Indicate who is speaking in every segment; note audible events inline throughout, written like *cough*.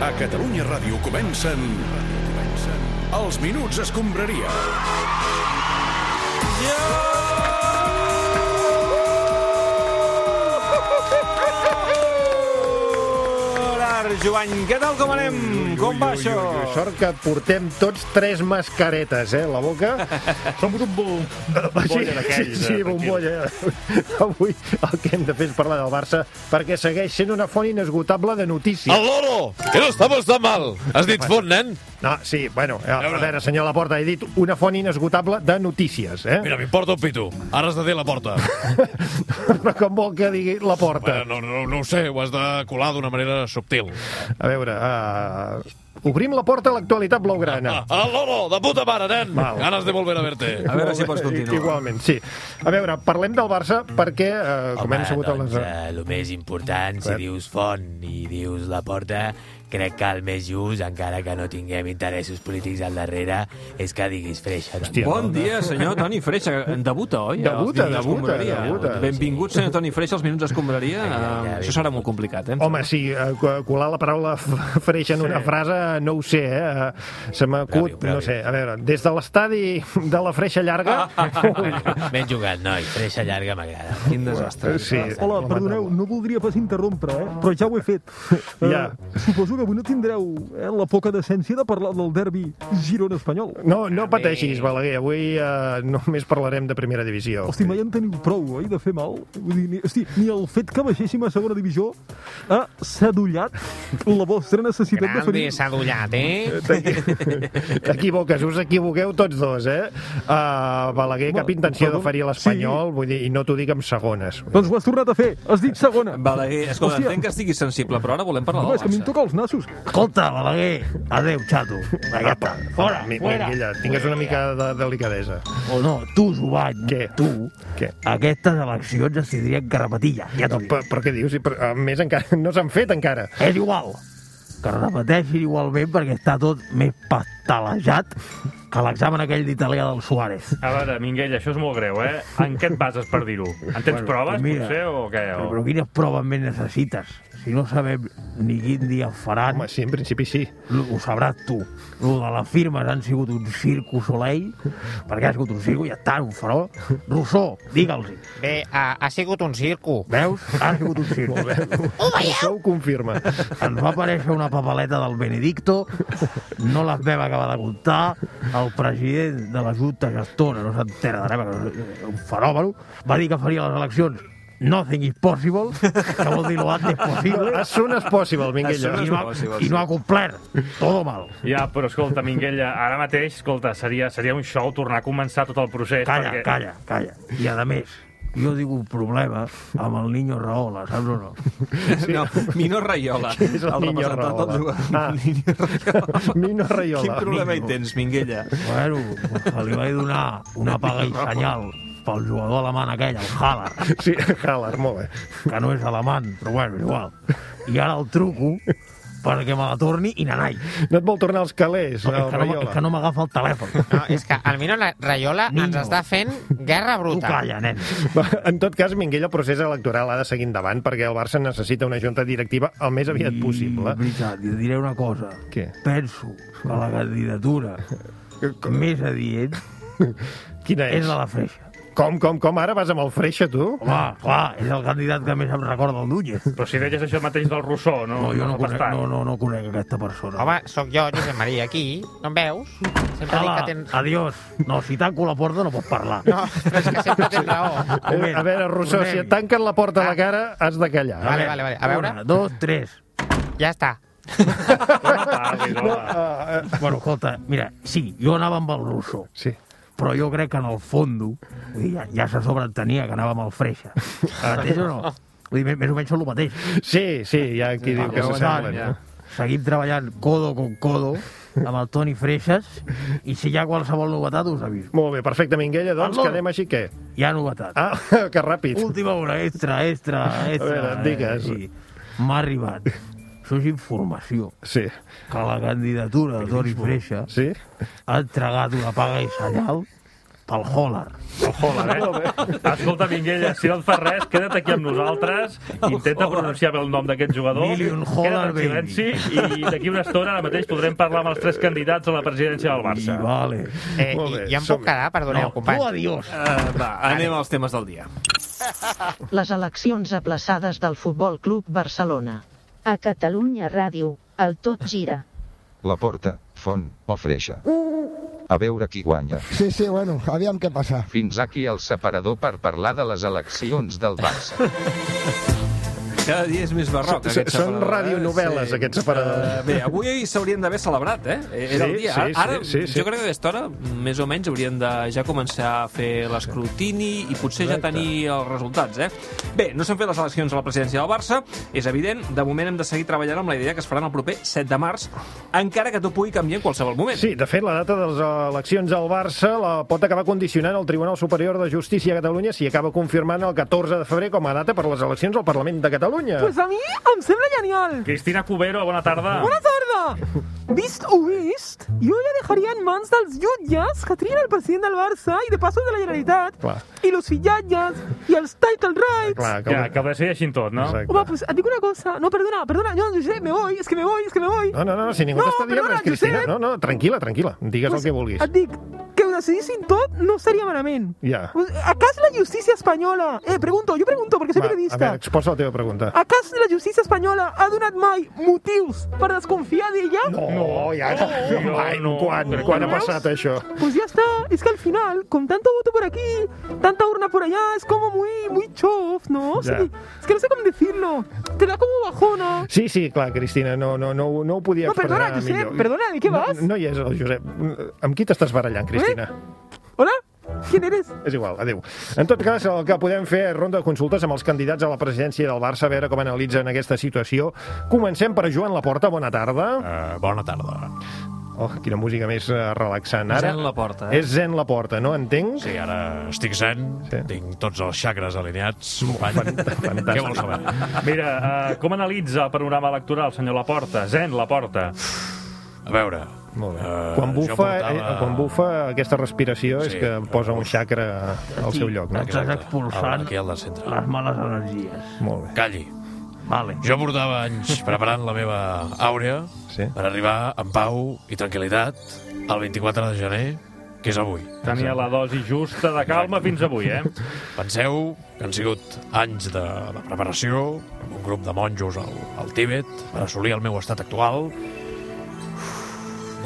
Speaker 1: A Catalunya Ràdio comencen... comencen Els Minuts Escombraria.
Speaker 2: Hola, Joan, què tal, com anem? Com va això?
Speaker 3: Sort que portem tots tres mascaretes, eh, a la boca.
Speaker 4: Som un bom... bombolla d'aquells,
Speaker 3: sí, sí,
Speaker 4: eh,
Speaker 3: bombolla. Avui el que hem de fer és parlar del Barça, perquè segueix sent una font inesgotable de notícies.
Speaker 5: ¡Al loro! ¡Que no estamos tan mal! Has dit fort, nen?
Speaker 3: No, sí, bueno, a, Ah, a veure, senyor Laporta, he dit una font inesgotable de notícies, eh?
Speaker 5: Mira, m'importa un pito. Ara has de dir la
Speaker 3: *laughs*
Speaker 5: porta.
Speaker 3: Però com vol que digui Laporta?
Speaker 5: Bueno, no, no, no ho sé, ho has de colar d'una manera subtil.
Speaker 3: A veure, uh, obrim la porta a l'actualitat blaugrana.
Speaker 5: Ah, ¡Al loro! De puta mare, nen!
Speaker 3: Val.
Speaker 5: Ganes de volver a verte.
Speaker 2: A veure si pots continuar.
Speaker 3: Igualment, sí. A veure, parlem del Barça perquè, eh, com hem sabut... a
Speaker 6: doncs,
Speaker 3: les...
Speaker 6: eh, el més important, si
Speaker 3: Clar.
Speaker 6: dius font i dius la porta, crec que el més just, encara que no tinguem interessos polítics al darrere, és que diguis freixa. també.
Speaker 2: Bon dia, senyor Toni Freixa. Debuta, oi?
Speaker 3: Debuta,
Speaker 2: als Minuts
Speaker 3: debuta,
Speaker 2: Escombraria?
Speaker 3: debuta.
Speaker 2: Benvingut, senyor Toni Freixa, als Minuts Escombraria. Eh, Això serà molt complicat, eh?
Speaker 3: Home, sí, eh, co- colar la paraula f- freixa en una frase, no ho sé, eh? Eh, Se
Speaker 6: Bravi,
Speaker 3: m'acut,
Speaker 6: bravi.
Speaker 3: no sé, a veure, des de l'estadi de la freixa
Speaker 2: *laughs*
Speaker 3: llarga...
Speaker 6: *laughs* Ben jugat, noi. Freixa llarga m'agrada.
Speaker 2: Quin desastre.
Speaker 3: Sí,
Speaker 7: Hola, perdoneu, no voldria pas interrompre, eh? però ja ho he fet.
Speaker 3: *laughs* Ja.
Speaker 7: Eh, suposo que avui no tindreu eh, la poca decència de parlar del derbi Girona-Espanyol.
Speaker 3: No, no pateixis, Balaguer, avui eh, només parlarem de primera divisió.
Speaker 7: Hosti, mai en teniu prou, oi, de fer mal? Vull dir, ni, hosti, ni el fet que baixéssim a segona divisió ha sadollat la vostra necessitat de fer...
Speaker 6: adullat,
Speaker 2: *laughs*
Speaker 6: eh?
Speaker 3: T'equivoques, us equivoqueu tots dos, eh? Uh, Balaguer, cap
Speaker 7: Bueno,
Speaker 3: intenció de
Speaker 7: perdó.
Speaker 3: ferir l'Espanyol, vull dir, i no t'ho dic amb segones.
Speaker 7: Doncs ho has tornat a fer, has dit segona.
Speaker 2: Balaguer, eh, escolta,
Speaker 7: Hòstia.
Speaker 2: entenc que estiguis sensible, però ara volem parlar
Speaker 7: Home,
Speaker 2: del
Speaker 7: és que a mi em
Speaker 2: Barça.
Speaker 7: toca els nassos.
Speaker 8: Escolta, Balaguer, adeu, xato. Allà està. Fora,
Speaker 3: Mi-
Speaker 8: fora.
Speaker 3: Minguella, tingues una mica de delicadesa.
Speaker 8: O no, tu, Jovany,
Speaker 3: Què?
Speaker 8: tu,
Speaker 3: Què?
Speaker 8: aquestes eleccions es tindrien que repetir ja, ja t'ho dic.
Speaker 3: Però, però què dius? I per, a més, encara *laughs* no s'han fet, encara.
Speaker 8: És igual, que repeteixin igualment perquè està tot més pastelejat que l'examen aquell d'italià del Suárez.
Speaker 4: A veure, Minguella, això és molt greu, eh? En què et bases per dir-ho? En tens proves,
Speaker 8: mira.
Speaker 4: potser, o què?
Speaker 8: Però,
Speaker 4: O...
Speaker 8: però quines proves més necessites? Si no sabem ni quin dia faran,
Speaker 3: Home, sí, en principi sí.
Speaker 8: Lo- ho sabràs tu. Lo de les firmes han sigut un circo soleil, perquè ha sigut un circo i ja està, un farol. Rousseau, digue'ls-hi.
Speaker 9: Bé, ha, ha sigut un circo.
Speaker 8: Veus? Ha sigut un circo.
Speaker 3: Això ho confirma.
Speaker 8: Ens va aparèixer una papeleta del Benedicto, no les vam acabar de comptar, el president de la Junta Gestora, no s'entera de res, perquè és un fenomen, va dir que faria les eleccions nothing is possible, que vol dir lo antes possible,
Speaker 3: As soon as possible,
Speaker 8: i
Speaker 3: Minguella.
Speaker 8: no, ha, i no ha complert. Todo mal.
Speaker 4: Ja, però escolta, Minguella, ara mateix, escolta, seria, seria un show tornar a començar tot el procés.
Speaker 8: Calla,
Speaker 4: perquè...
Speaker 8: calla, calla. I a més, jo tinc un problema amb el niño Rahola, saps o no?
Speaker 2: No, Minor Raiola.
Speaker 3: és el Niño
Speaker 2: representant del
Speaker 3: Rahola?
Speaker 2: jugador.
Speaker 3: Ah.
Speaker 2: Niño
Speaker 7: *laughs*
Speaker 2: Raiola.
Speaker 3: Mino
Speaker 2: Quin
Speaker 3: Rayola.
Speaker 2: problema hi tens, Minguella?
Speaker 8: Bueno, se li vaig donar una paga i senyal pel jugador alemany aquell, el Haaland.
Speaker 3: Sí, Haller, molt bé.
Speaker 8: que no és alemany, però bueno, igual. I ara el truco perquè me la torni i nanai.
Speaker 3: No et vol tornar als calés,
Speaker 8: No,
Speaker 3: el
Speaker 8: és, que no, m'a- és que
Speaker 3: Rayola.
Speaker 8: no m'agafa el telèfon.
Speaker 9: No, és que el Mino La- Rayola
Speaker 8: Mino.
Speaker 9: ens està fent guerra
Speaker 8: Tu
Speaker 9: bruta.
Speaker 8: calla, nen.
Speaker 3: Va, En tot cas, Minguella, el procés electoral ha de seguir endavant perquè el Barça necessita una junta directiva el més aviat possible.
Speaker 8: I, veritat, i et diré una cosa.
Speaker 3: Què?
Speaker 8: Penso que la candidatura més adient
Speaker 3: Quina
Speaker 8: és
Speaker 3: és?
Speaker 8: la de Freixa.
Speaker 3: Com, com, com? Ara vas amb el freixa, tu? Ah,
Speaker 8: Home, clar, és el candidat que més em recorda el Núñez.
Speaker 4: Però si deies això mateix del Rousseau, no?
Speaker 8: No, jo no
Speaker 4: fa
Speaker 8: conec,
Speaker 4: tant.
Speaker 8: no, no, no conec aquesta persona.
Speaker 9: Home, sóc jo, Josep Maria, aquí. No em veus? Sempre
Speaker 8: Hola,
Speaker 9: dic que tens...
Speaker 8: adiós. No, si tanco la porta no pots parlar.
Speaker 9: No, però és que sempre tens raó.
Speaker 3: A
Speaker 2: Eh.
Speaker 3: veure, a veure, Rousseau, si et tanquen la porta a
Speaker 8: Ah.
Speaker 3: la cara, has de callar. eh?
Speaker 9: Vale, vale, vale. A veure,
Speaker 8: Una, dos, tres.
Speaker 9: ja està.
Speaker 4: No
Speaker 9: Ah,
Speaker 4: parlis, home.
Speaker 3: Ah, ah,
Speaker 8: Eh, Bueno, escolta, mira, sí, jo anava amb el Rousseau.
Speaker 3: sí.
Speaker 8: però jo crec que en el fondo vull dir, ja, ja se sobreentenia que anava amb el freixa. Entens o no?
Speaker 9: *laughs*
Speaker 8: Vull dir, més- més o menys són el mateix.
Speaker 3: Sí, sí, hi ha qui diu que
Speaker 8: Per
Speaker 3: s'assemblen.
Speaker 8: tant,
Speaker 3: no?
Speaker 8: Seguim treballant codo con codo amb el Toni Freixas i si hi ha qualsevol novetat us aviso.
Speaker 3: Molt bé, perfecte, Minguella. Doncs
Speaker 8: Perdó.
Speaker 3: quedem així, què?
Speaker 8: Hi ha novetat.
Speaker 3: Ah, que ràpid.
Speaker 8: Última hora, extra, extra, extra. Eh,
Speaker 3: veure, digues.
Speaker 8: sí. M'ha arribat. Això és informació.
Speaker 3: Sí,
Speaker 8: Que la candidatura de Toni Freixa
Speaker 3: sí.
Speaker 8: ha entregat una paga i senyal pel Holler.
Speaker 4: Eh? Escolta, Minguella, si no et fa res, queda't aquí amb nosaltres, intenta pronunciar bé el nom d'aquest jugador,
Speaker 8: Million Holler,
Speaker 4: queda't en silenci i d'aquí una estona ara mateix podrem parlar amb els tres candidats a la presidència del
Speaker 8: I
Speaker 4: Barça.
Speaker 8: vale.
Speaker 10: Eh,
Speaker 3: Molt
Speaker 10: i,
Speaker 3: bé,
Speaker 10: ja em puc
Speaker 3: som-hi.
Speaker 10: quedar, perdoneu,
Speaker 8: No, tu
Speaker 10: company.
Speaker 8: adiós.
Speaker 4: Eh,
Speaker 2: Uh, va, anem als temes del dia.
Speaker 11: les eleccions aplaçades del Futbol Club Barcelona.
Speaker 7: A Catalunya Ràdio, el tot gira.
Speaker 1: La porta, font o freixa. A veure qui guanya.
Speaker 7: Sí, sí, bueno, aviam què passa.
Speaker 1: Fins aquí el separador per parlar de les eleccions del Barça.
Speaker 2: Cada dia és més barroc,
Speaker 3: S-
Speaker 2: aquest
Speaker 3: són
Speaker 2: separador. eh?
Speaker 3: radionovel·les, aquests separadors.
Speaker 2: Eh, bé, avui s'haurien d'haver celebrat, eh? Era
Speaker 3: Sí,
Speaker 2: el dia.
Speaker 3: sí,
Speaker 2: Ara,
Speaker 3: sí, sí, sí.
Speaker 2: jo crec que a aquesta hora, més o menys, haurien de ja començar a fer l'escrutini i potser ja tenir els resultats, eh? Bé, no s'han fet les eleccions a la presidència del Barça, és evident. De moment hem de seguir treballant amb la idea que es faran el proper 7 de març, encara que tot pugui canviar en qualsevol moment.
Speaker 3: Sí, de fet, la data de les eleccions al Barça la pot acabar condicionant el Tribunal Superior de Justícia a Catalunya si acaba confirmant el 14 de febrer com a data per les eleccions al Parlament de Catalunya.
Speaker 12: Pues a mi em sembla genial.
Speaker 4: Cristina Cubero, bona tarda.
Speaker 12: Bona tarda! Vist o vist, jo ja dejaria en mans dels jutges que trien el president del Barça i de passos de la Generalitat,
Speaker 3: Clar.
Speaker 12: i los fillatges, i els title rights.
Speaker 3: Clar, que...
Speaker 4: Ja, que ho decideixin tot, no?
Speaker 3: Exacte.
Speaker 12: Home, pues et dic una cosa. No, perdona, perdona, no, Josep, me voy, és que me voy, és que me voy.
Speaker 3: No, no, no, si ningú
Speaker 12: No,
Speaker 3: t'està dient
Speaker 12: perdona,
Speaker 3: res, Cristina.
Speaker 12: Josep.
Speaker 3: No, no, tranquil·la, tranquil·la. Digues el que vulguis.
Speaker 12: Et dic, que ho decidissin tot no estaria malament.
Speaker 3: Ja.
Speaker 12: Pues, ¿Acá es la justícia espanyola? Eh, pregunto, jo pregunto, perquè soy
Speaker 3: Va, a
Speaker 12: periodista.
Speaker 3: veure, exposa la teva pregunta.
Speaker 12: ¿Acaso la justícia espanyola ha donat mai motius per desconfiar d'ella?
Speaker 3: No, ja...
Speaker 4: no,
Speaker 3: Ai,
Speaker 4: no.
Speaker 3: quan,
Speaker 4: Però
Speaker 3: quan ha
Speaker 12: com veus?
Speaker 3: passat això?
Speaker 12: Pues ya está, es que al final, con tanto voto por aquí, tanta urna por allá, es como muy, muy chof, ¿no? O sea,
Speaker 3: Ya.
Speaker 12: es que no sé cómo decirlo, te da como bajona.
Speaker 3: Sí, sí, clar, Cristina, no, no, no, ho- no ho podia
Speaker 12: No, perdona,
Speaker 3: expressar
Speaker 12: Josep,
Speaker 3: millor.
Speaker 12: perdona, de què
Speaker 3: no,
Speaker 12: vas? Eh?
Speaker 3: No hi és el Josep. Mm, Amb qui t'estàs barallant, Cristina?
Speaker 12: Hola, ¿quién eres?
Speaker 3: És igual, adéu. En tot cas, el que podem fer és ronda de consultes amb els candidats a la presidència del Barça, a veure com analitzen aquesta situació. Comencem per Joan Laporta, bona tarda.
Speaker 5: Eh, bona tarda.
Speaker 3: Oh, quina música més eh, relaxant. Ara
Speaker 2: Zen Laporta, eh?
Speaker 3: És Zen Laporta, no? Entenc?
Speaker 5: Sí, ara estic zen,
Speaker 3: Sí.
Speaker 5: sí. tinc tots els xacres alineats. Company.
Speaker 3: fantàstic.
Speaker 5: Què vols saber?
Speaker 4: Mira, eh, com analitza el panorama electoral, senyor Laporta? Zen Laporta.
Speaker 5: A veure...
Speaker 3: Molt bé.
Speaker 5: eh,
Speaker 3: quan,
Speaker 5: jo
Speaker 3: bufa,
Speaker 5: portava-
Speaker 3: eh, quan bufa aquesta respiració
Speaker 5: Sí,
Speaker 3: és que posa un
Speaker 5: uf.
Speaker 3: xacre al seu lloc, no?
Speaker 5: Exacte.
Speaker 8: Estàs expulsant
Speaker 5: Aquí al del centre.
Speaker 8: les males energies.
Speaker 3: Molt bé.
Speaker 5: Calli.
Speaker 8: Vale.
Speaker 5: Jo portava anys preparant la meva àurea
Speaker 3: Sí.
Speaker 5: per arribar en pau i tranquil·litat el 24 de gener, que és avui.
Speaker 4: Tenia la dosi justa de calma fins avui, eh?
Speaker 5: Penseu que han sigut anys de, de preparació, amb un grup de monjos al, al Tíbet, per assolir el meu estat actual.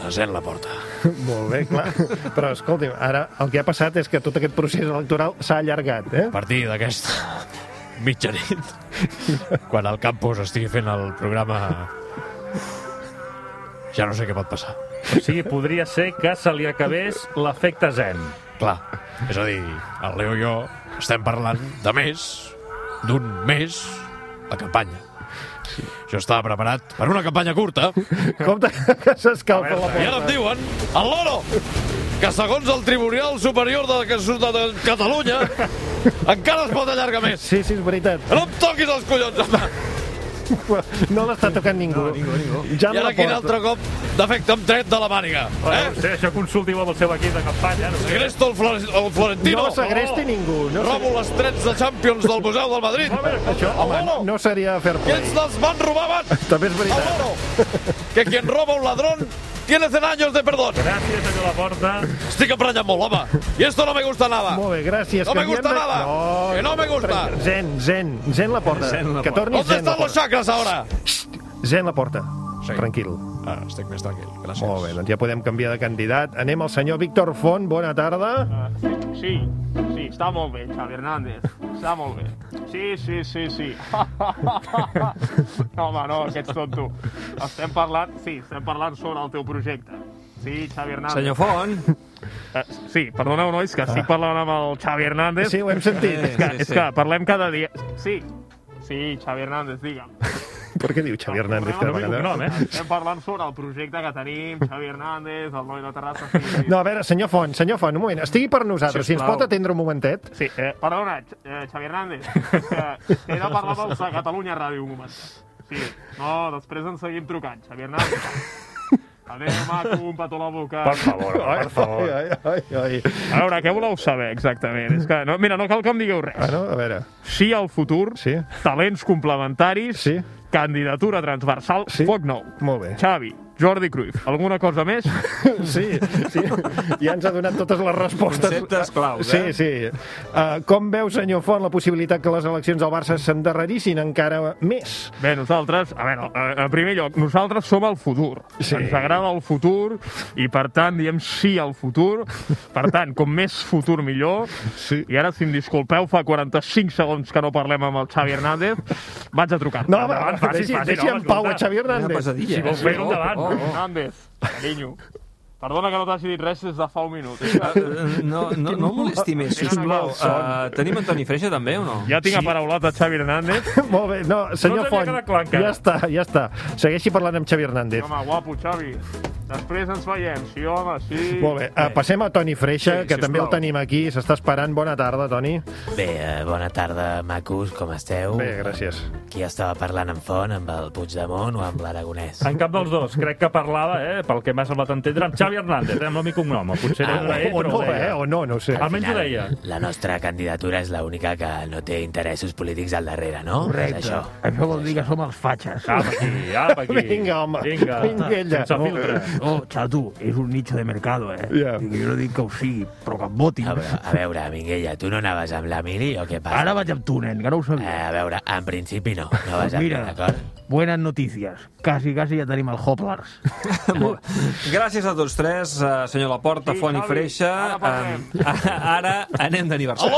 Speaker 5: Desent la porta.
Speaker 3: *laughs* Molt bé, clar. Però escolti, ara el que ha passat és que tot aquest procés electoral s'ha allargat, eh?
Speaker 5: A partir d'aquesta *laughs* mitjanit, quan el campus estigui fent el programa... Ja no sé què pot passar.
Speaker 4: O sigui,
Speaker 3: eh,
Speaker 4: podria ser que se li acabés l'efecte zen.
Speaker 5: Clar, és a dir, el Leo i jo estem parlant de més d'un mes de campanya. Jo estava preparat per una campanya curta i
Speaker 3: Compte que s'escalfa la
Speaker 5: ara em diuen el loro que segons el Tribunal Superior de, de, de, de Catalunya encara es pot allargar més.
Speaker 3: Sí, sí, és veritat. *laughs*
Speaker 5: No em toquis els collons, home!
Speaker 3: No l'està tocant ningú. No, ningú, ningú. Ja
Speaker 5: I ara quin altre cop d'efecte em tret de la màniga,
Speaker 4: Eh?
Speaker 5: eh?
Speaker 4: No sé, això consultiu amb el seu equip de campanya. No sé.
Speaker 5: Segresto el, Flore- el Florentino, Oh,
Speaker 3: No segresti ningú. No,
Speaker 5: robo les trets de Champions del Museu del Madrid.
Speaker 3: això, home,
Speaker 5: Apolo.
Speaker 3: no seria fair
Speaker 5: Que
Speaker 3: play.
Speaker 5: ens les van robar abans!
Speaker 3: *laughs* També és
Speaker 5: al
Speaker 3: veritat.
Speaker 5: loro. Que quien roba un ladrón tiene 100 años de perdón.
Speaker 4: Gràcies, senyor Laporta.
Speaker 5: Estic emprenyant molt, home. I esto no me gusta nada.
Speaker 3: Molt bé, gràcies.
Speaker 5: No me
Speaker 3: Canviem
Speaker 5: gusta
Speaker 3: de-
Speaker 5: nada. Que no me gusta.
Speaker 3: Zen, zen, zen la porta.
Speaker 2: Zen la
Speaker 3: que
Speaker 2: porta.
Speaker 3: torni
Speaker 5: ¿Dónde
Speaker 3: zen la
Speaker 5: están los
Speaker 3: porta.
Speaker 5: chakras ahora?
Speaker 3: Zen la porta.
Speaker 5: Sí.
Speaker 3: Tranquil.
Speaker 5: Ah, estic més tranquil, gràcies.
Speaker 3: Molt bé, doncs ja podem canviar de candidat. Anem al senyor Víctor Font, bona
Speaker 4: Ah.
Speaker 3: tarda.
Speaker 12: Sí, sí, està molt bé, Xavi Hernández, està molt bé. Sí, sí, sí, sí. no, home, no, que ets tonto. Estem parlant, sí, estem parlant sobre el teu projecte. Sí, Xavi Hernández.
Speaker 2: Senyor Font,
Speaker 4: Eh,
Speaker 12: Sí, perdoneu, nois, que
Speaker 3: Ah.
Speaker 12: estic parlant amb el Xavi Hernández.
Speaker 3: Sí, ho hem sentit.
Speaker 2: Sí, sí,
Speaker 12: És que parlem cada dia. Sí, sí, Xavi Hernández, digue'm.
Speaker 3: Per què diu Xavi Hernández cada
Speaker 4: No vull
Speaker 3: vegada?
Speaker 4: cognom, eh?
Speaker 12: Estem parlant sobre el projecte que tenim, Xavi Hernández, el noi de Terrassa... Sí, sí.
Speaker 3: No, a veure, senyor Font, senyor Font, un moment, estigui per nosaltres, si ens
Speaker 2: Sisplau.
Speaker 3: pot atendre un momentet.
Speaker 12: Sí, eh, perdona, X- eh, Xavi Hernández, és que he de parlar dels de Catalunya Ràdio un moment. Sí, no, després ens seguim trucant, Xavi Hernández.
Speaker 13: Adéu, maco, un petó a la boca.
Speaker 4: Per favor, per favor.
Speaker 13: Ai,
Speaker 3: ai, ai.
Speaker 13: A veure, què voleu saber exactament? És que, no, mira, no cal que em digueu res.
Speaker 3: Bueno, Ah, a veure.
Speaker 13: Sí al futur, sí. talents complementaris, sí. candidatura transversal, sí. foc nou.
Speaker 3: Molt bé.
Speaker 13: Xavi, Jordi Cruyff, alguna cosa més?
Speaker 3: *laughs* Sí, sí. Ja ens ha donat totes les respostes.
Speaker 2: Conceptes claus,
Speaker 3: sí,
Speaker 2: eh?
Speaker 3: Sí, sí. Uh, com veu, senyor Font, la possibilitat que les eleccions del Barça s'endarrerissin encara més?
Speaker 13: Bé, nosaltres, a veure, eh, en primer lloc, nosaltres som el futur. Sí. Ens agrada el futur i, per tant, diem sí al futur. Per tant, com més futur, millor. Sí. I ara, si em disculpeu, fa 45 segons que no parlem amb el Xavi Hernández. Vaig a trucar.
Speaker 3: No, home, deixi- deixi en pau a Xavi Hernández. Quina pesadilla,
Speaker 13: Si vols
Speaker 3: eh?
Speaker 13: fer-ho endavant,
Speaker 3: Oh, oh, oh.
Speaker 13: Hernández, carinyo. Perdona que no t'hagi dit res des de fa un minut. eh?
Speaker 2: Eh, No, no, no el molesti més, sisplau. Uh, tenim Antoni Freixa també o no?
Speaker 13: Ja tinc aparaulat a Xavi Hernández.
Speaker 3: Molt bé, no, senyor
Speaker 13: t'havia
Speaker 3: Font,
Speaker 13: quedat clar encara.
Speaker 3: ja està, ja està. Segueixi parlant amb Xavi Hernández.
Speaker 13: Home, guapo, Xavi. Després ens veiem. Sí, home, sí.
Speaker 3: Molt bé, uh, passem a Toni Freixa,
Speaker 6: Sí,
Speaker 3: que també el
Speaker 6: sisplau.
Speaker 3: tenim aquí, s'està esperant. Bona tarda, Toni.
Speaker 6: Bé, eh, bona tarda, macos, com esteu?
Speaker 3: Bé, gràcies.
Speaker 6: Qui estava parlant amb Font, amb el Puigdemont o amb l'Aragonès?
Speaker 4: En cap dels dos. Crec que parlava, eh, pel que m'ha semblat entendre, amb Xavi Hernández, eh, amb el mi cognom. Potser era una E,
Speaker 3: o
Speaker 4: però
Speaker 3: no,
Speaker 4: ho deia.
Speaker 3: eh? O no, no ho sé.
Speaker 6: Al
Speaker 4: Almenys ho
Speaker 6: final,
Speaker 4: deia.
Speaker 6: La nostra candidatura és l'única que no té interessos polítics al darrere, no?
Speaker 8: Correcte.
Speaker 6: És això.
Speaker 8: Això vol dir que som els fatxes.
Speaker 6: Apa aquí, apa aquí. Vinga,
Speaker 3: home.
Speaker 8: Vinga.
Speaker 6: Vinga, ella. Sense filtre.
Speaker 8: Oh, xato, és un nicho de mercado, eh? Yeah. Jo no dic que ho sigui, però que em votin.
Speaker 6: A veure, a veure, Minguella, tu no anaves amb la Mili o què passa?
Speaker 8: Ara vaig amb tu, nen, que no ho sabia.
Speaker 6: Eh, a veure, en principi no. No vas amb mi,
Speaker 8: Mira,
Speaker 6: d'acord?
Speaker 8: buenas notícies. Quasi, quasi ja tenim el *laughs* Hoplars.
Speaker 2: Gràcies a tots tres, uh, senyor Laporta, Font i Freixa. Um, *laughs* ara anem d'aniversari.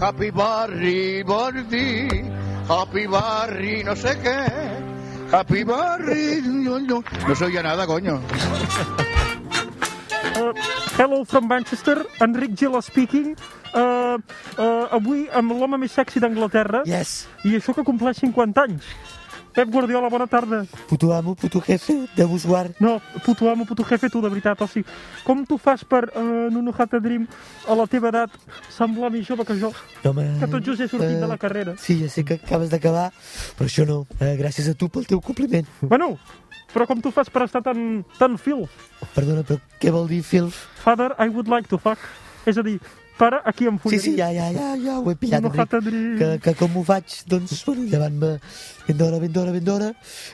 Speaker 14: Happy Barry, Barry, Happy Barry, no sé qué. Happy Barry, no, no, no se oye nada, coño.
Speaker 15: Uh, hello from Manchester, Enric Gila speaking. Uh, uh, avui amb l'home més sexy d'Anglaterra. Yes. I això que compleix 50 anys. Pep Guardiola, bona tarda.
Speaker 16: Puto amo, puto jefe, debo jugar.
Speaker 15: No, puto amo, puto jefe, tu, de veritat. O sigui, com tu fas per uh, Nuno Hat Dream a la teva edat semblar més jove que jo?
Speaker 16: No, home, Eh,
Speaker 15: Que tot just he sortit de la carrera.
Speaker 16: Sí, ja sé que acabes d'acabar, però això no. Eh, gràcies a tu pel teu compliment.
Speaker 15: Bueno, però com tu fas per estar tan, tan fil?
Speaker 16: Perdona, però què vol dir, Phil?
Speaker 15: Father, I would like to fuck. És a dir, pare, aquí em
Speaker 16: Sí,
Speaker 15: follaria.
Speaker 16: sí, ja, ja, ja, ja, Ah, ho he pillat,
Speaker 15: Nuno Hat
Speaker 16: Enric.
Speaker 15: Dream.
Speaker 16: Que, que com ho faig? Doncs, bueno, llevant-me ben d'hora, ben d'hora, ben d'hora,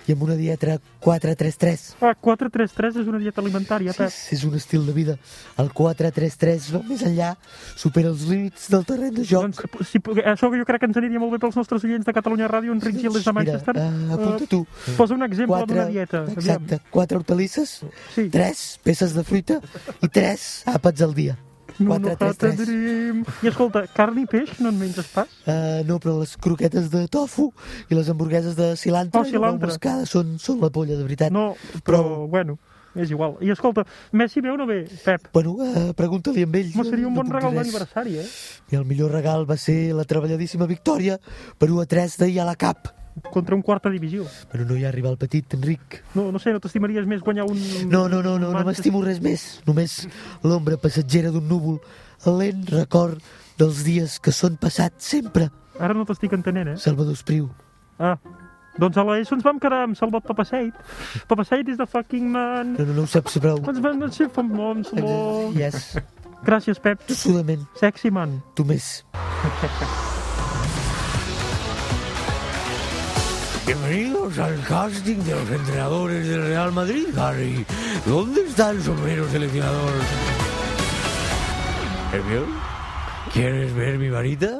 Speaker 16: i amb una dieta 4-3-3.
Speaker 15: Ah, 4-3-3 és una dieta alimentària,
Speaker 16: Sí,
Speaker 15: Pep.
Speaker 16: és- és un estil de vida. El 4-3-3 va més enllà, supera els límits del terreny de joc.
Speaker 15: Doncs, si, pu- això jo crec que ens aniria molt bé pels nostres oients de Catalunya Ràdio, Enric Gil és de Manchester.
Speaker 16: Mira, eh, apunta
Speaker 15: Eh,
Speaker 16: tu.
Speaker 15: Posa un exemple
Speaker 16: Quatre-
Speaker 15: d'una dieta. aviam.
Speaker 16: Exacte, quatre hortalisses, sí. tres peces de fruita i tres àpats al dia.
Speaker 15: No, no,
Speaker 16: Quatre, tres,
Speaker 15: Hata
Speaker 16: tres.
Speaker 15: Dream. I escolta, carn i peix no en menges pas?
Speaker 16: Uh, no, però les croquetes de tofu i les hamburgueses de cilantre,
Speaker 15: Oh,
Speaker 16: i la
Speaker 15: cilantre.
Speaker 16: moscada són, són la polla, de veritat.
Speaker 15: No, però, bueno, és igual. I escolta, Messi veu o no ve, Pep?
Speaker 16: Bueno, uh, pregunta-li amb ell.
Speaker 15: Home, seria un
Speaker 16: no
Speaker 15: bon
Speaker 16: puc dir
Speaker 15: regal
Speaker 16: res.
Speaker 15: d'aniversari, eh?
Speaker 16: I el millor regal va ser la treballadíssima victòria per 1 a 3 d'ahir a la CAP.
Speaker 15: Contra un quarta divisió.
Speaker 16: Però no hi ha rival petit, Enric.
Speaker 15: No, no sé, no t'estimaries més guanyar un...
Speaker 16: No, no, no, no, no m'estimo res més. Només l'ombra passatgera d'un núvol, el lent record dels dies que són passats sempre.
Speaker 15: Ara no t'estic entenent, eh?
Speaker 16: Salvador Espriu.
Speaker 15: Ah, doncs a l'ESO ens vam quedar amb Salvat Papaseit. Papaseit is the fucking man.
Speaker 16: No, no, no ho saps prou.
Speaker 15: Ens van ser famosos.
Speaker 16: Yes.
Speaker 15: Gràcies, Pep.
Speaker 16: Tossudament.
Speaker 15: Sexy man.
Speaker 16: Tu
Speaker 15: *laughs*
Speaker 16: més.
Speaker 17: Bienvenidos al casting de los entrenadores del Real Madrid, Harry. ¿Dónde está el sombrero seleccionador? ¿Hermión? ¿Quieres ver mi varita?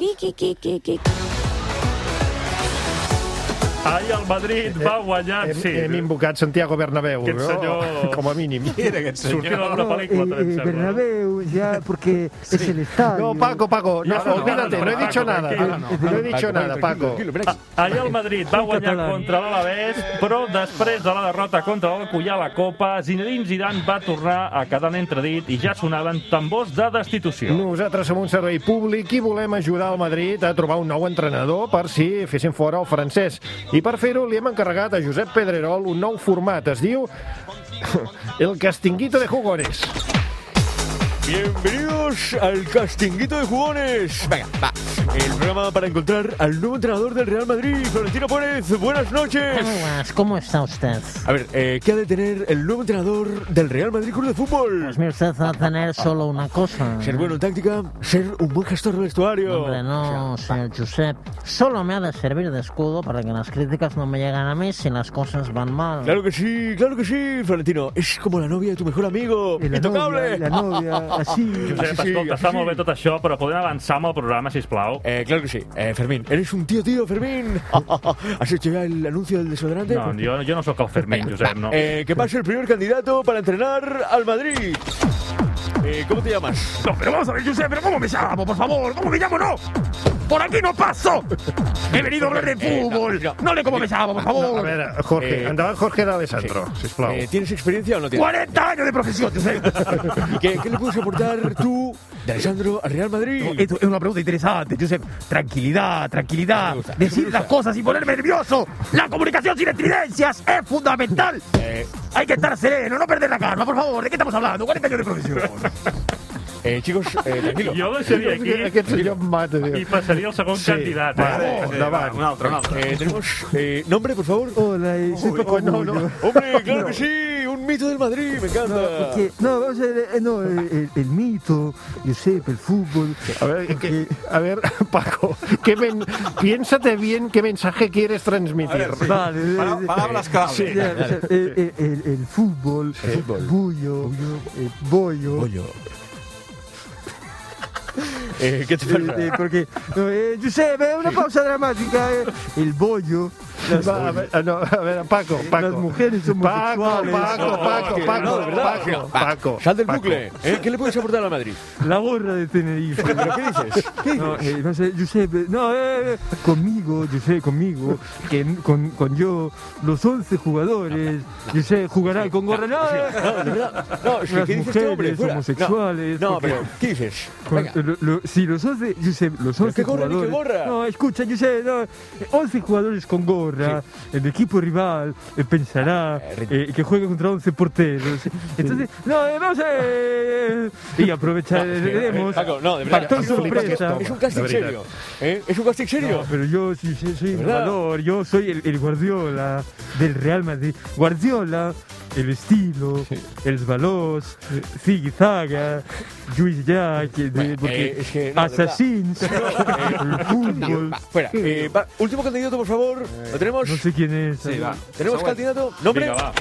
Speaker 4: Ai, el Madrid va guanyar,
Speaker 3: Hem,
Speaker 4: sí.
Speaker 3: hem invocat Santiago Bernabéu,
Speaker 4: Aquest senyor-
Speaker 3: *laughs* com a mínim.
Speaker 4: Qui era aquest senyor? Sortida d'una pel·lícula,
Speaker 3: Eh,
Speaker 4: em
Speaker 3: eh,
Speaker 4: sembla.
Speaker 3: Bernabéu, ya, porque es el estadio. No, Paco, Paco, no,
Speaker 4: Ahora no,
Speaker 3: olvídate, no,
Speaker 4: ahora no,
Speaker 3: he dicho
Speaker 4: Paco,
Speaker 3: nada.
Speaker 4: tranquilo,
Speaker 3: No,
Speaker 4: ahora no.
Speaker 3: he dicho
Speaker 4: Paco,
Speaker 3: nada,
Speaker 4: tranquilo,
Speaker 3: Paco.
Speaker 4: tranquilo, relax. Ahir el Madrid va guanyar contra l'Alavés, però després de la derrota contra l'Alcoyà a la Copa, Zinedine Zidane va tornar a quedar en entredit i ja sonaven tambors de destitució.
Speaker 3: Nosaltres som un servei públic i volem ajudar al Madrid a trobar un nou entrenador per si fessin fora el francès. I per fer-ho li hem encarregat a Josep Pedrerol un *laughs* nou format. Es diu El Castinguito de Jugones.
Speaker 18: Bienvenidos al castinguito de jugones. Venga, va. El programa para encontrar al nuevo entrenador del Real Madrid, Florentino Pérez. Buenas noches.
Speaker 19: ¿Cómo está usted?
Speaker 18: A ver, eh, ¿qué ha de tener el nuevo entrenador del Real Madrid Club de Fútbol?
Speaker 19: Pues mire, usted va a tener solo una cosa.
Speaker 18: *laughs*
Speaker 19: ¿eh?
Speaker 18: Ser bueno en táctica, ser un buen gestor de vestuario.
Speaker 19: Hombre, no, señor Josep. Solo me ha de servir de escudo para que las críticas no me lleguen a mí si las cosas van mal.
Speaker 18: Claro que sí, claro que sí, Florentino. Es como la novia de tu mejor amigo.
Speaker 19: la novia,
Speaker 18: Intocable.
Speaker 19: la novia,
Speaker 18: ah, *laughs*
Speaker 19: así.
Speaker 4: Ah, Josep, escolta, està molt bé tot això, però podem avançar amb el programa, sisplau?
Speaker 18: Eh, claro que sí. Eh, Fermín, eres un tío, tío, Fermín. ¿Has hecho ya el anuncio del desodorante? Pues
Speaker 4: No, jo, jo no sóc el Fermín, Josep, no.
Speaker 18: Eh, que pase el primer candidato para entrenar al Madrid. Eh, ¿Cómo te llamas?
Speaker 20: No, pero vamos a ver, Josep, pero ¿cómo me llamo, por favor? ¿Cómo me llamo, no? ¡Por aquí no paso! He venido a hablar de fútbol. No le cómo me llamo, por
Speaker 3: No, a
Speaker 20: favor.
Speaker 3: veure, Jorge,
Speaker 20: Eh,
Speaker 3: endavant Jorge de Alessandro, sisplau.
Speaker 18: Eh, ¿Tienes experiencia o no tienes?
Speaker 20: 40 años de profesión, *laughs* Josep.
Speaker 18: ¿Y qué, qué le puedes aportar tú, de Alessandro, al Real Madrid?
Speaker 8: Esto es una pregunta interesante, Josep. Tranquilidad, tranquilidad. Decir las cosas y ponerme nervioso. La comunicación sin estridencias es
Speaker 18: *laughs*
Speaker 8: fundamental.
Speaker 18: Eh.
Speaker 8: Hay que estar sereno, no perder la calma, por favor. ¿De qué estamos hablando? 40 años de profesión.
Speaker 18: Eh, chicos, *laughs* eh, tranquilo.
Speaker 4: Jo deixaria aquí
Speaker 3: Aquest senyor em mata, tio.
Speaker 4: i passaria al segon
Speaker 3: Sí.
Speaker 4: candidat.
Speaker 3: Va,
Speaker 4: eh?
Speaker 3: eh, endavant.
Speaker 4: Va, Un altre, un altre.
Speaker 18: Eh, tenemos eh, nombre, por favor.
Speaker 7: Hola, soy
Speaker 18: Uy,
Speaker 7: Paco
Speaker 18: no,
Speaker 7: Amullo.
Speaker 18: no. *laughs* Hombre, claro que sí, un mito del Madrid, me encanta.
Speaker 7: No, porque- no, vamos a ver, eh, no, eh, el, el mito, Josep, el fútbol.
Speaker 3: A ver, que- a ver, *laughs* Paco, qué men- piénsate bien qué mensaje quieres transmitir.
Speaker 7: Vale, eh, eh,
Speaker 3: Sí.
Speaker 7: ya, o sea, eh, eh, el, el fútbol, el bullo, eh, bollo.
Speaker 18: Eh, ¿Qué te pasa?
Speaker 7: Eh, eh, porque, no, eh, Giuseppe, una pausa dramática. eh. El bollo. Las,
Speaker 3: Va, a ver, ah, no, a ver, Paco, Paco.
Speaker 7: las mujeres son
Speaker 3: Paco,
Speaker 7: homosexuales.
Speaker 3: Paco, Paco, Paco,
Speaker 18: No, de verdad.
Speaker 3: Paco,
Speaker 18: Va,
Speaker 3: Paco.
Speaker 18: Sal del
Speaker 3: Paco.
Speaker 18: bucle. ¿eh? ¿Qué le puedes aportar a Madrid?
Speaker 7: La gorra de Tenerife.
Speaker 18: ¿Pero *laughs* qué dices?
Speaker 7: No, eh, no sé, Giuseppe, no, eh, eh, conmigo, Giuseppe, conmigo, que m- con, con yo, los 11 jugadores, Giuseppe jugará con gorra, no, eh,
Speaker 18: No, de verdad. No, es que,
Speaker 7: las
Speaker 18: ¿qué dices tú, hombre?
Speaker 7: mujeres
Speaker 18: Fuera.
Speaker 7: homosexuales.
Speaker 18: No, no
Speaker 7: porque-
Speaker 18: pero ¿qué dices?
Speaker 7: con- lo- lo- sí, los 11, Giuseppe, los
Speaker 18: Pero
Speaker 7: 11
Speaker 18: qué gorra, ni qué
Speaker 7: jugadores.
Speaker 18: gorra.
Speaker 7: No, escucha, Giuseppe, no, eh, 11 jugadores con gorra, el equipo rival eh, pensará eh, que juega contra 11 porteros. Entonces, no, eh, vamos a... eh, y
Speaker 3: Ah, eh,
Speaker 7: aprovecharemos.
Speaker 18: Paco, no, de verdad.
Speaker 7: Factor
Speaker 18: Es un-
Speaker 7: sorpresa.
Speaker 18: Es un casting
Speaker 7: De verdad.
Speaker 18: serio. ¿eh? Es un casting serio.
Speaker 7: No, pero yo sí, sí, soy
Speaker 18: ¿De verdad?
Speaker 7: innovador, yo soy el, el Guardiola del Real Madrid. Guardiola, el estilo, el balós, Zigizaga, Luis Jack, de- porque
Speaker 18: eh, es que no, de verdad.
Speaker 7: Assassins, *laughs* el fútbol.
Speaker 18: Va, fuera. Eh, va, último candidato, por favor. ¿Lo tenemos?
Speaker 7: No sé quién es.
Speaker 18: ¿Tenemos
Speaker 7: Següent.
Speaker 18: candidato? ¿Nombre?
Speaker 7: Vinga, va.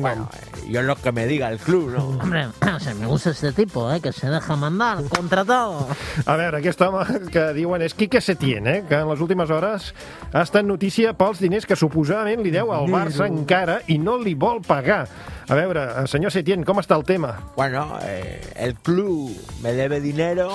Speaker 18: Bueno, eh, yo lo que me diga el club, ¿no?
Speaker 19: Hombre, o sea, me gusta este tipo, ¿eh? Que se deja mandar, contratado.
Speaker 3: A veure, aquest home que diuen és Quique Setién, eh? que en les últimes hores ha estat notícia pels diners que suposadament li deu al Barça encara i no li vol pagar. A veure, eh, senyor Setién, com està el tema?
Speaker 6: Bueno, eh, el club me debe dinero,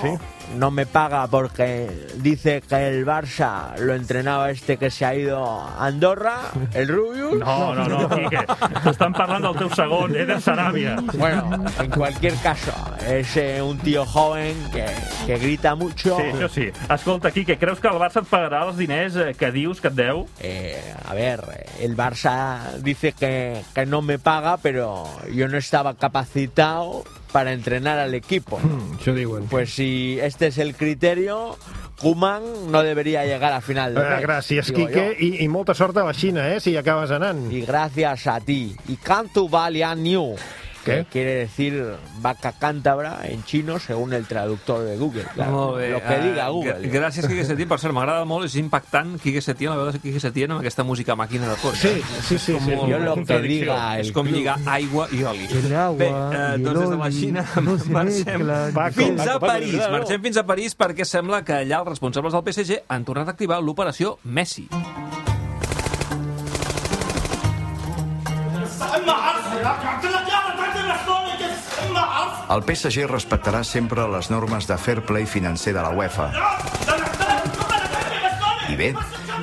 Speaker 6: no me paga porque dice que el Barça lo entrenaba este que se ha ido a Andorra,
Speaker 4: *laughs*
Speaker 6: el Rubius.
Speaker 4: No, no,
Speaker 6: *laughs*
Speaker 4: no, Quique, t'estan parlant del teu segon, eh, Eder Sarabia.
Speaker 6: Bueno, en cualquier caso, es eh, un tío joven que, que grita mucho.
Speaker 4: Sí, això sí. Escolta, Quique, creus que el Barça et pagarà els diners eh, que dius que et deu?
Speaker 6: Eh, a ver, el Barça dice que, que no me paga, pero yo no estaba capacitado para entrenar al equipo. Pues si este es el criterio, Kuman no debería llegar a final de
Speaker 3: Eh,
Speaker 6: mes,
Speaker 3: gràcies,
Speaker 6: digo
Speaker 3: Quique,
Speaker 6: yo.
Speaker 3: i, i molta sort a la Xina, eh, si hi acabes anant.
Speaker 6: Y gracias a ti. Y Cantu New, que quiere decir vaca cántabra en chino según el traductor de Google. claro.
Speaker 2: Molt bé.
Speaker 6: Lo que
Speaker 2: eh,
Speaker 6: diga
Speaker 2: gr-
Speaker 6: Google.
Speaker 2: Gràcies, Quique Setién, per cert, m'agrada molt, és impactant, Quique Setién, la veu de Quique Setién amb aquesta música màquina de eh? fons. Sí,
Speaker 3: sí, sí.
Speaker 6: sí. Jo lo que diga
Speaker 2: És
Speaker 6: el
Speaker 2: com
Speaker 6: club.
Speaker 2: lligar aigua i oli.
Speaker 7: El agua
Speaker 2: Bé,
Speaker 7: i
Speaker 18: ah,
Speaker 2: eh,
Speaker 7: el
Speaker 2: doncs des de la
Speaker 7: oli
Speaker 2: Xina
Speaker 7: no se
Speaker 2: marxem
Speaker 7: mezclan. Paco,
Speaker 2: fins
Speaker 7: Paco,
Speaker 2: a
Speaker 7: Paco,
Speaker 2: París.
Speaker 7: de veritat, no.
Speaker 2: Marxem fins a París perquè sembla que allà els responsables del PSG han tornat a activar l'operació Messi.
Speaker 21: El PSG respectarà sempre les normes de fair play financer de la UEFA. I bé,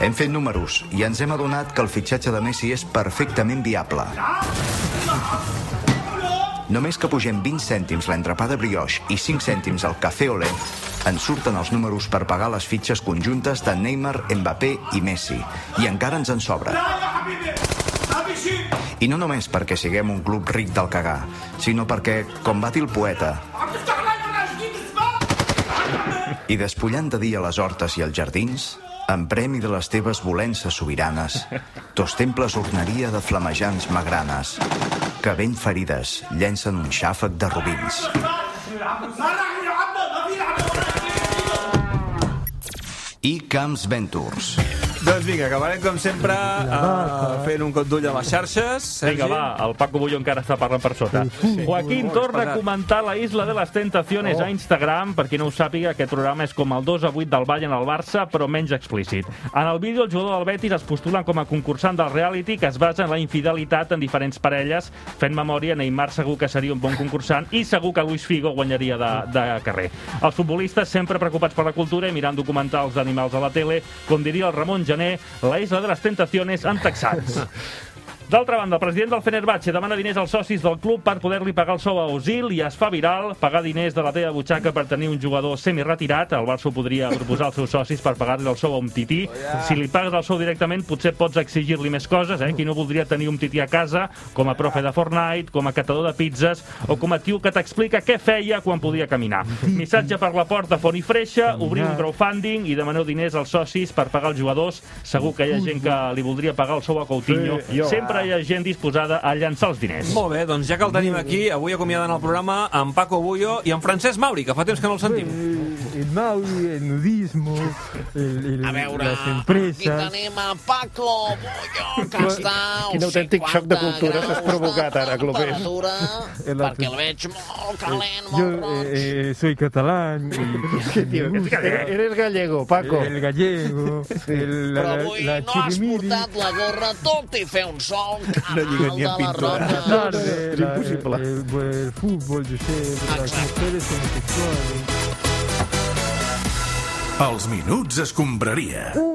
Speaker 21: hem fet números i ens hem adonat que el fitxatge de Messi és perfectament viable. Només que pugem 20 cèntims l'entrepà de brioche i 5 cèntims al cafè olé, ens surten els números per pagar les fitxes conjuntes de Neymar, Mbappé i Messi. I encara ens en sobra. I no només perquè siguem un club ric del cagar, sinó perquè, com va dir el poeta, i despullant de dia les hortes i els jardins, en premi de les teves volences sobiranes, tos temples ornaria de flamejants magranes, que ben ferides llencen un xàfec de robins. I Camps Ventures.
Speaker 2: Doncs vinga, acabarem com sempre uh, fent un cop d'ull a les xarxes. Sergi.
Speaker 4: Vinga, va, el Paco Bullo encara està parlant per sota. Joaquín
Speaker 2: Molt
Speaker 4: torna a
Speaker 2: pesat.
Speaker 4: comentar la Isla de les Tentaciones a
Speaker 2: Oh.
Speaker 4: Instagram. Per qui no ho sàpiga, aquest programa és com el 2 a 8 del Bayern al Barça, però menys explícit. En el vídeo, el jugador del Betis es postula com a concursant del reality que es basa en la infidelitat en diferents parelles. Fent memòria, Neymar segur que seria un bon concursant i segur que Luis Figo guanyaria de, de carrer. Els futbolistes sempre preocupats per la cultura i mirant documentals d'animals a la tele, com diria el Ramon Gené, la Isla de les Tentaciones en *laughs* texans. D'altra banda, el president del Fenerbahce demana diners als socis del club per poder-li pagar el sou a Osil i es fa viral pagar diners de la teva butxaca per tenir un jugador semiretirat. El Barça ho podria proposar als seus socis per pagar-li el sou a un tití. Si li pagues el sou directament, potser pots exigir-li més coses, eh? Qui no voldria tenir un tití a casa, com a profe de Fortnite, com a catador de pizzas, o com a tio que t'explica què feia quan podia caminar. Missatge per la porta, font i freixa, obrir un crowdfunding i demaneu diners als socis per pagar els jugadors. Segur que hi ha gent que li voldria pagar el sou a Coutinho.
Speaker 2: Sí, jo.
Speaker 4: Sempre hi ha gent disposada a llançar els diners.
Speaker 2: Molt bé, doncs ja que el tenim aquí, avui acomiadant el programa amb Paco Bullo i amb Francesc Mauri, que fa temps que no el sentim.
Speaker 7: Pues, El Maui, el nudismo, el, el, les empreses...
Speaker 22: tenim a Paco Bullo, que està...
Speaker 3: Quin autèntic xoc de cultura s'has provocat ara, Clopés.
Speaker 22: Perquè el veig molt calent,
Speaker 7: Yo eh, eh, soy catalán. *laughs* ¿Qué
Speaker 3: tío? Eres gallego, Paco.
Speaker 7: El gallego. el- la,
Speaker 22: Però avui
Speaker 7: la
Speaker 22: no has
Speaker 7: chirimiri.
Speaker 22: portat la gorra, tot i fer un sol
Speaker 7: No
Speaker 22: canal
Speaker 7: llega
Speaker 22: de la roca.
Speaker 7: No, no, eh, la- eh, eh, pues, el fútbol, yo sé,
Speaker 22: Ah,
Speaker 7: las mujeres homosexuales.
Speaker 1: Els minuts escombraria.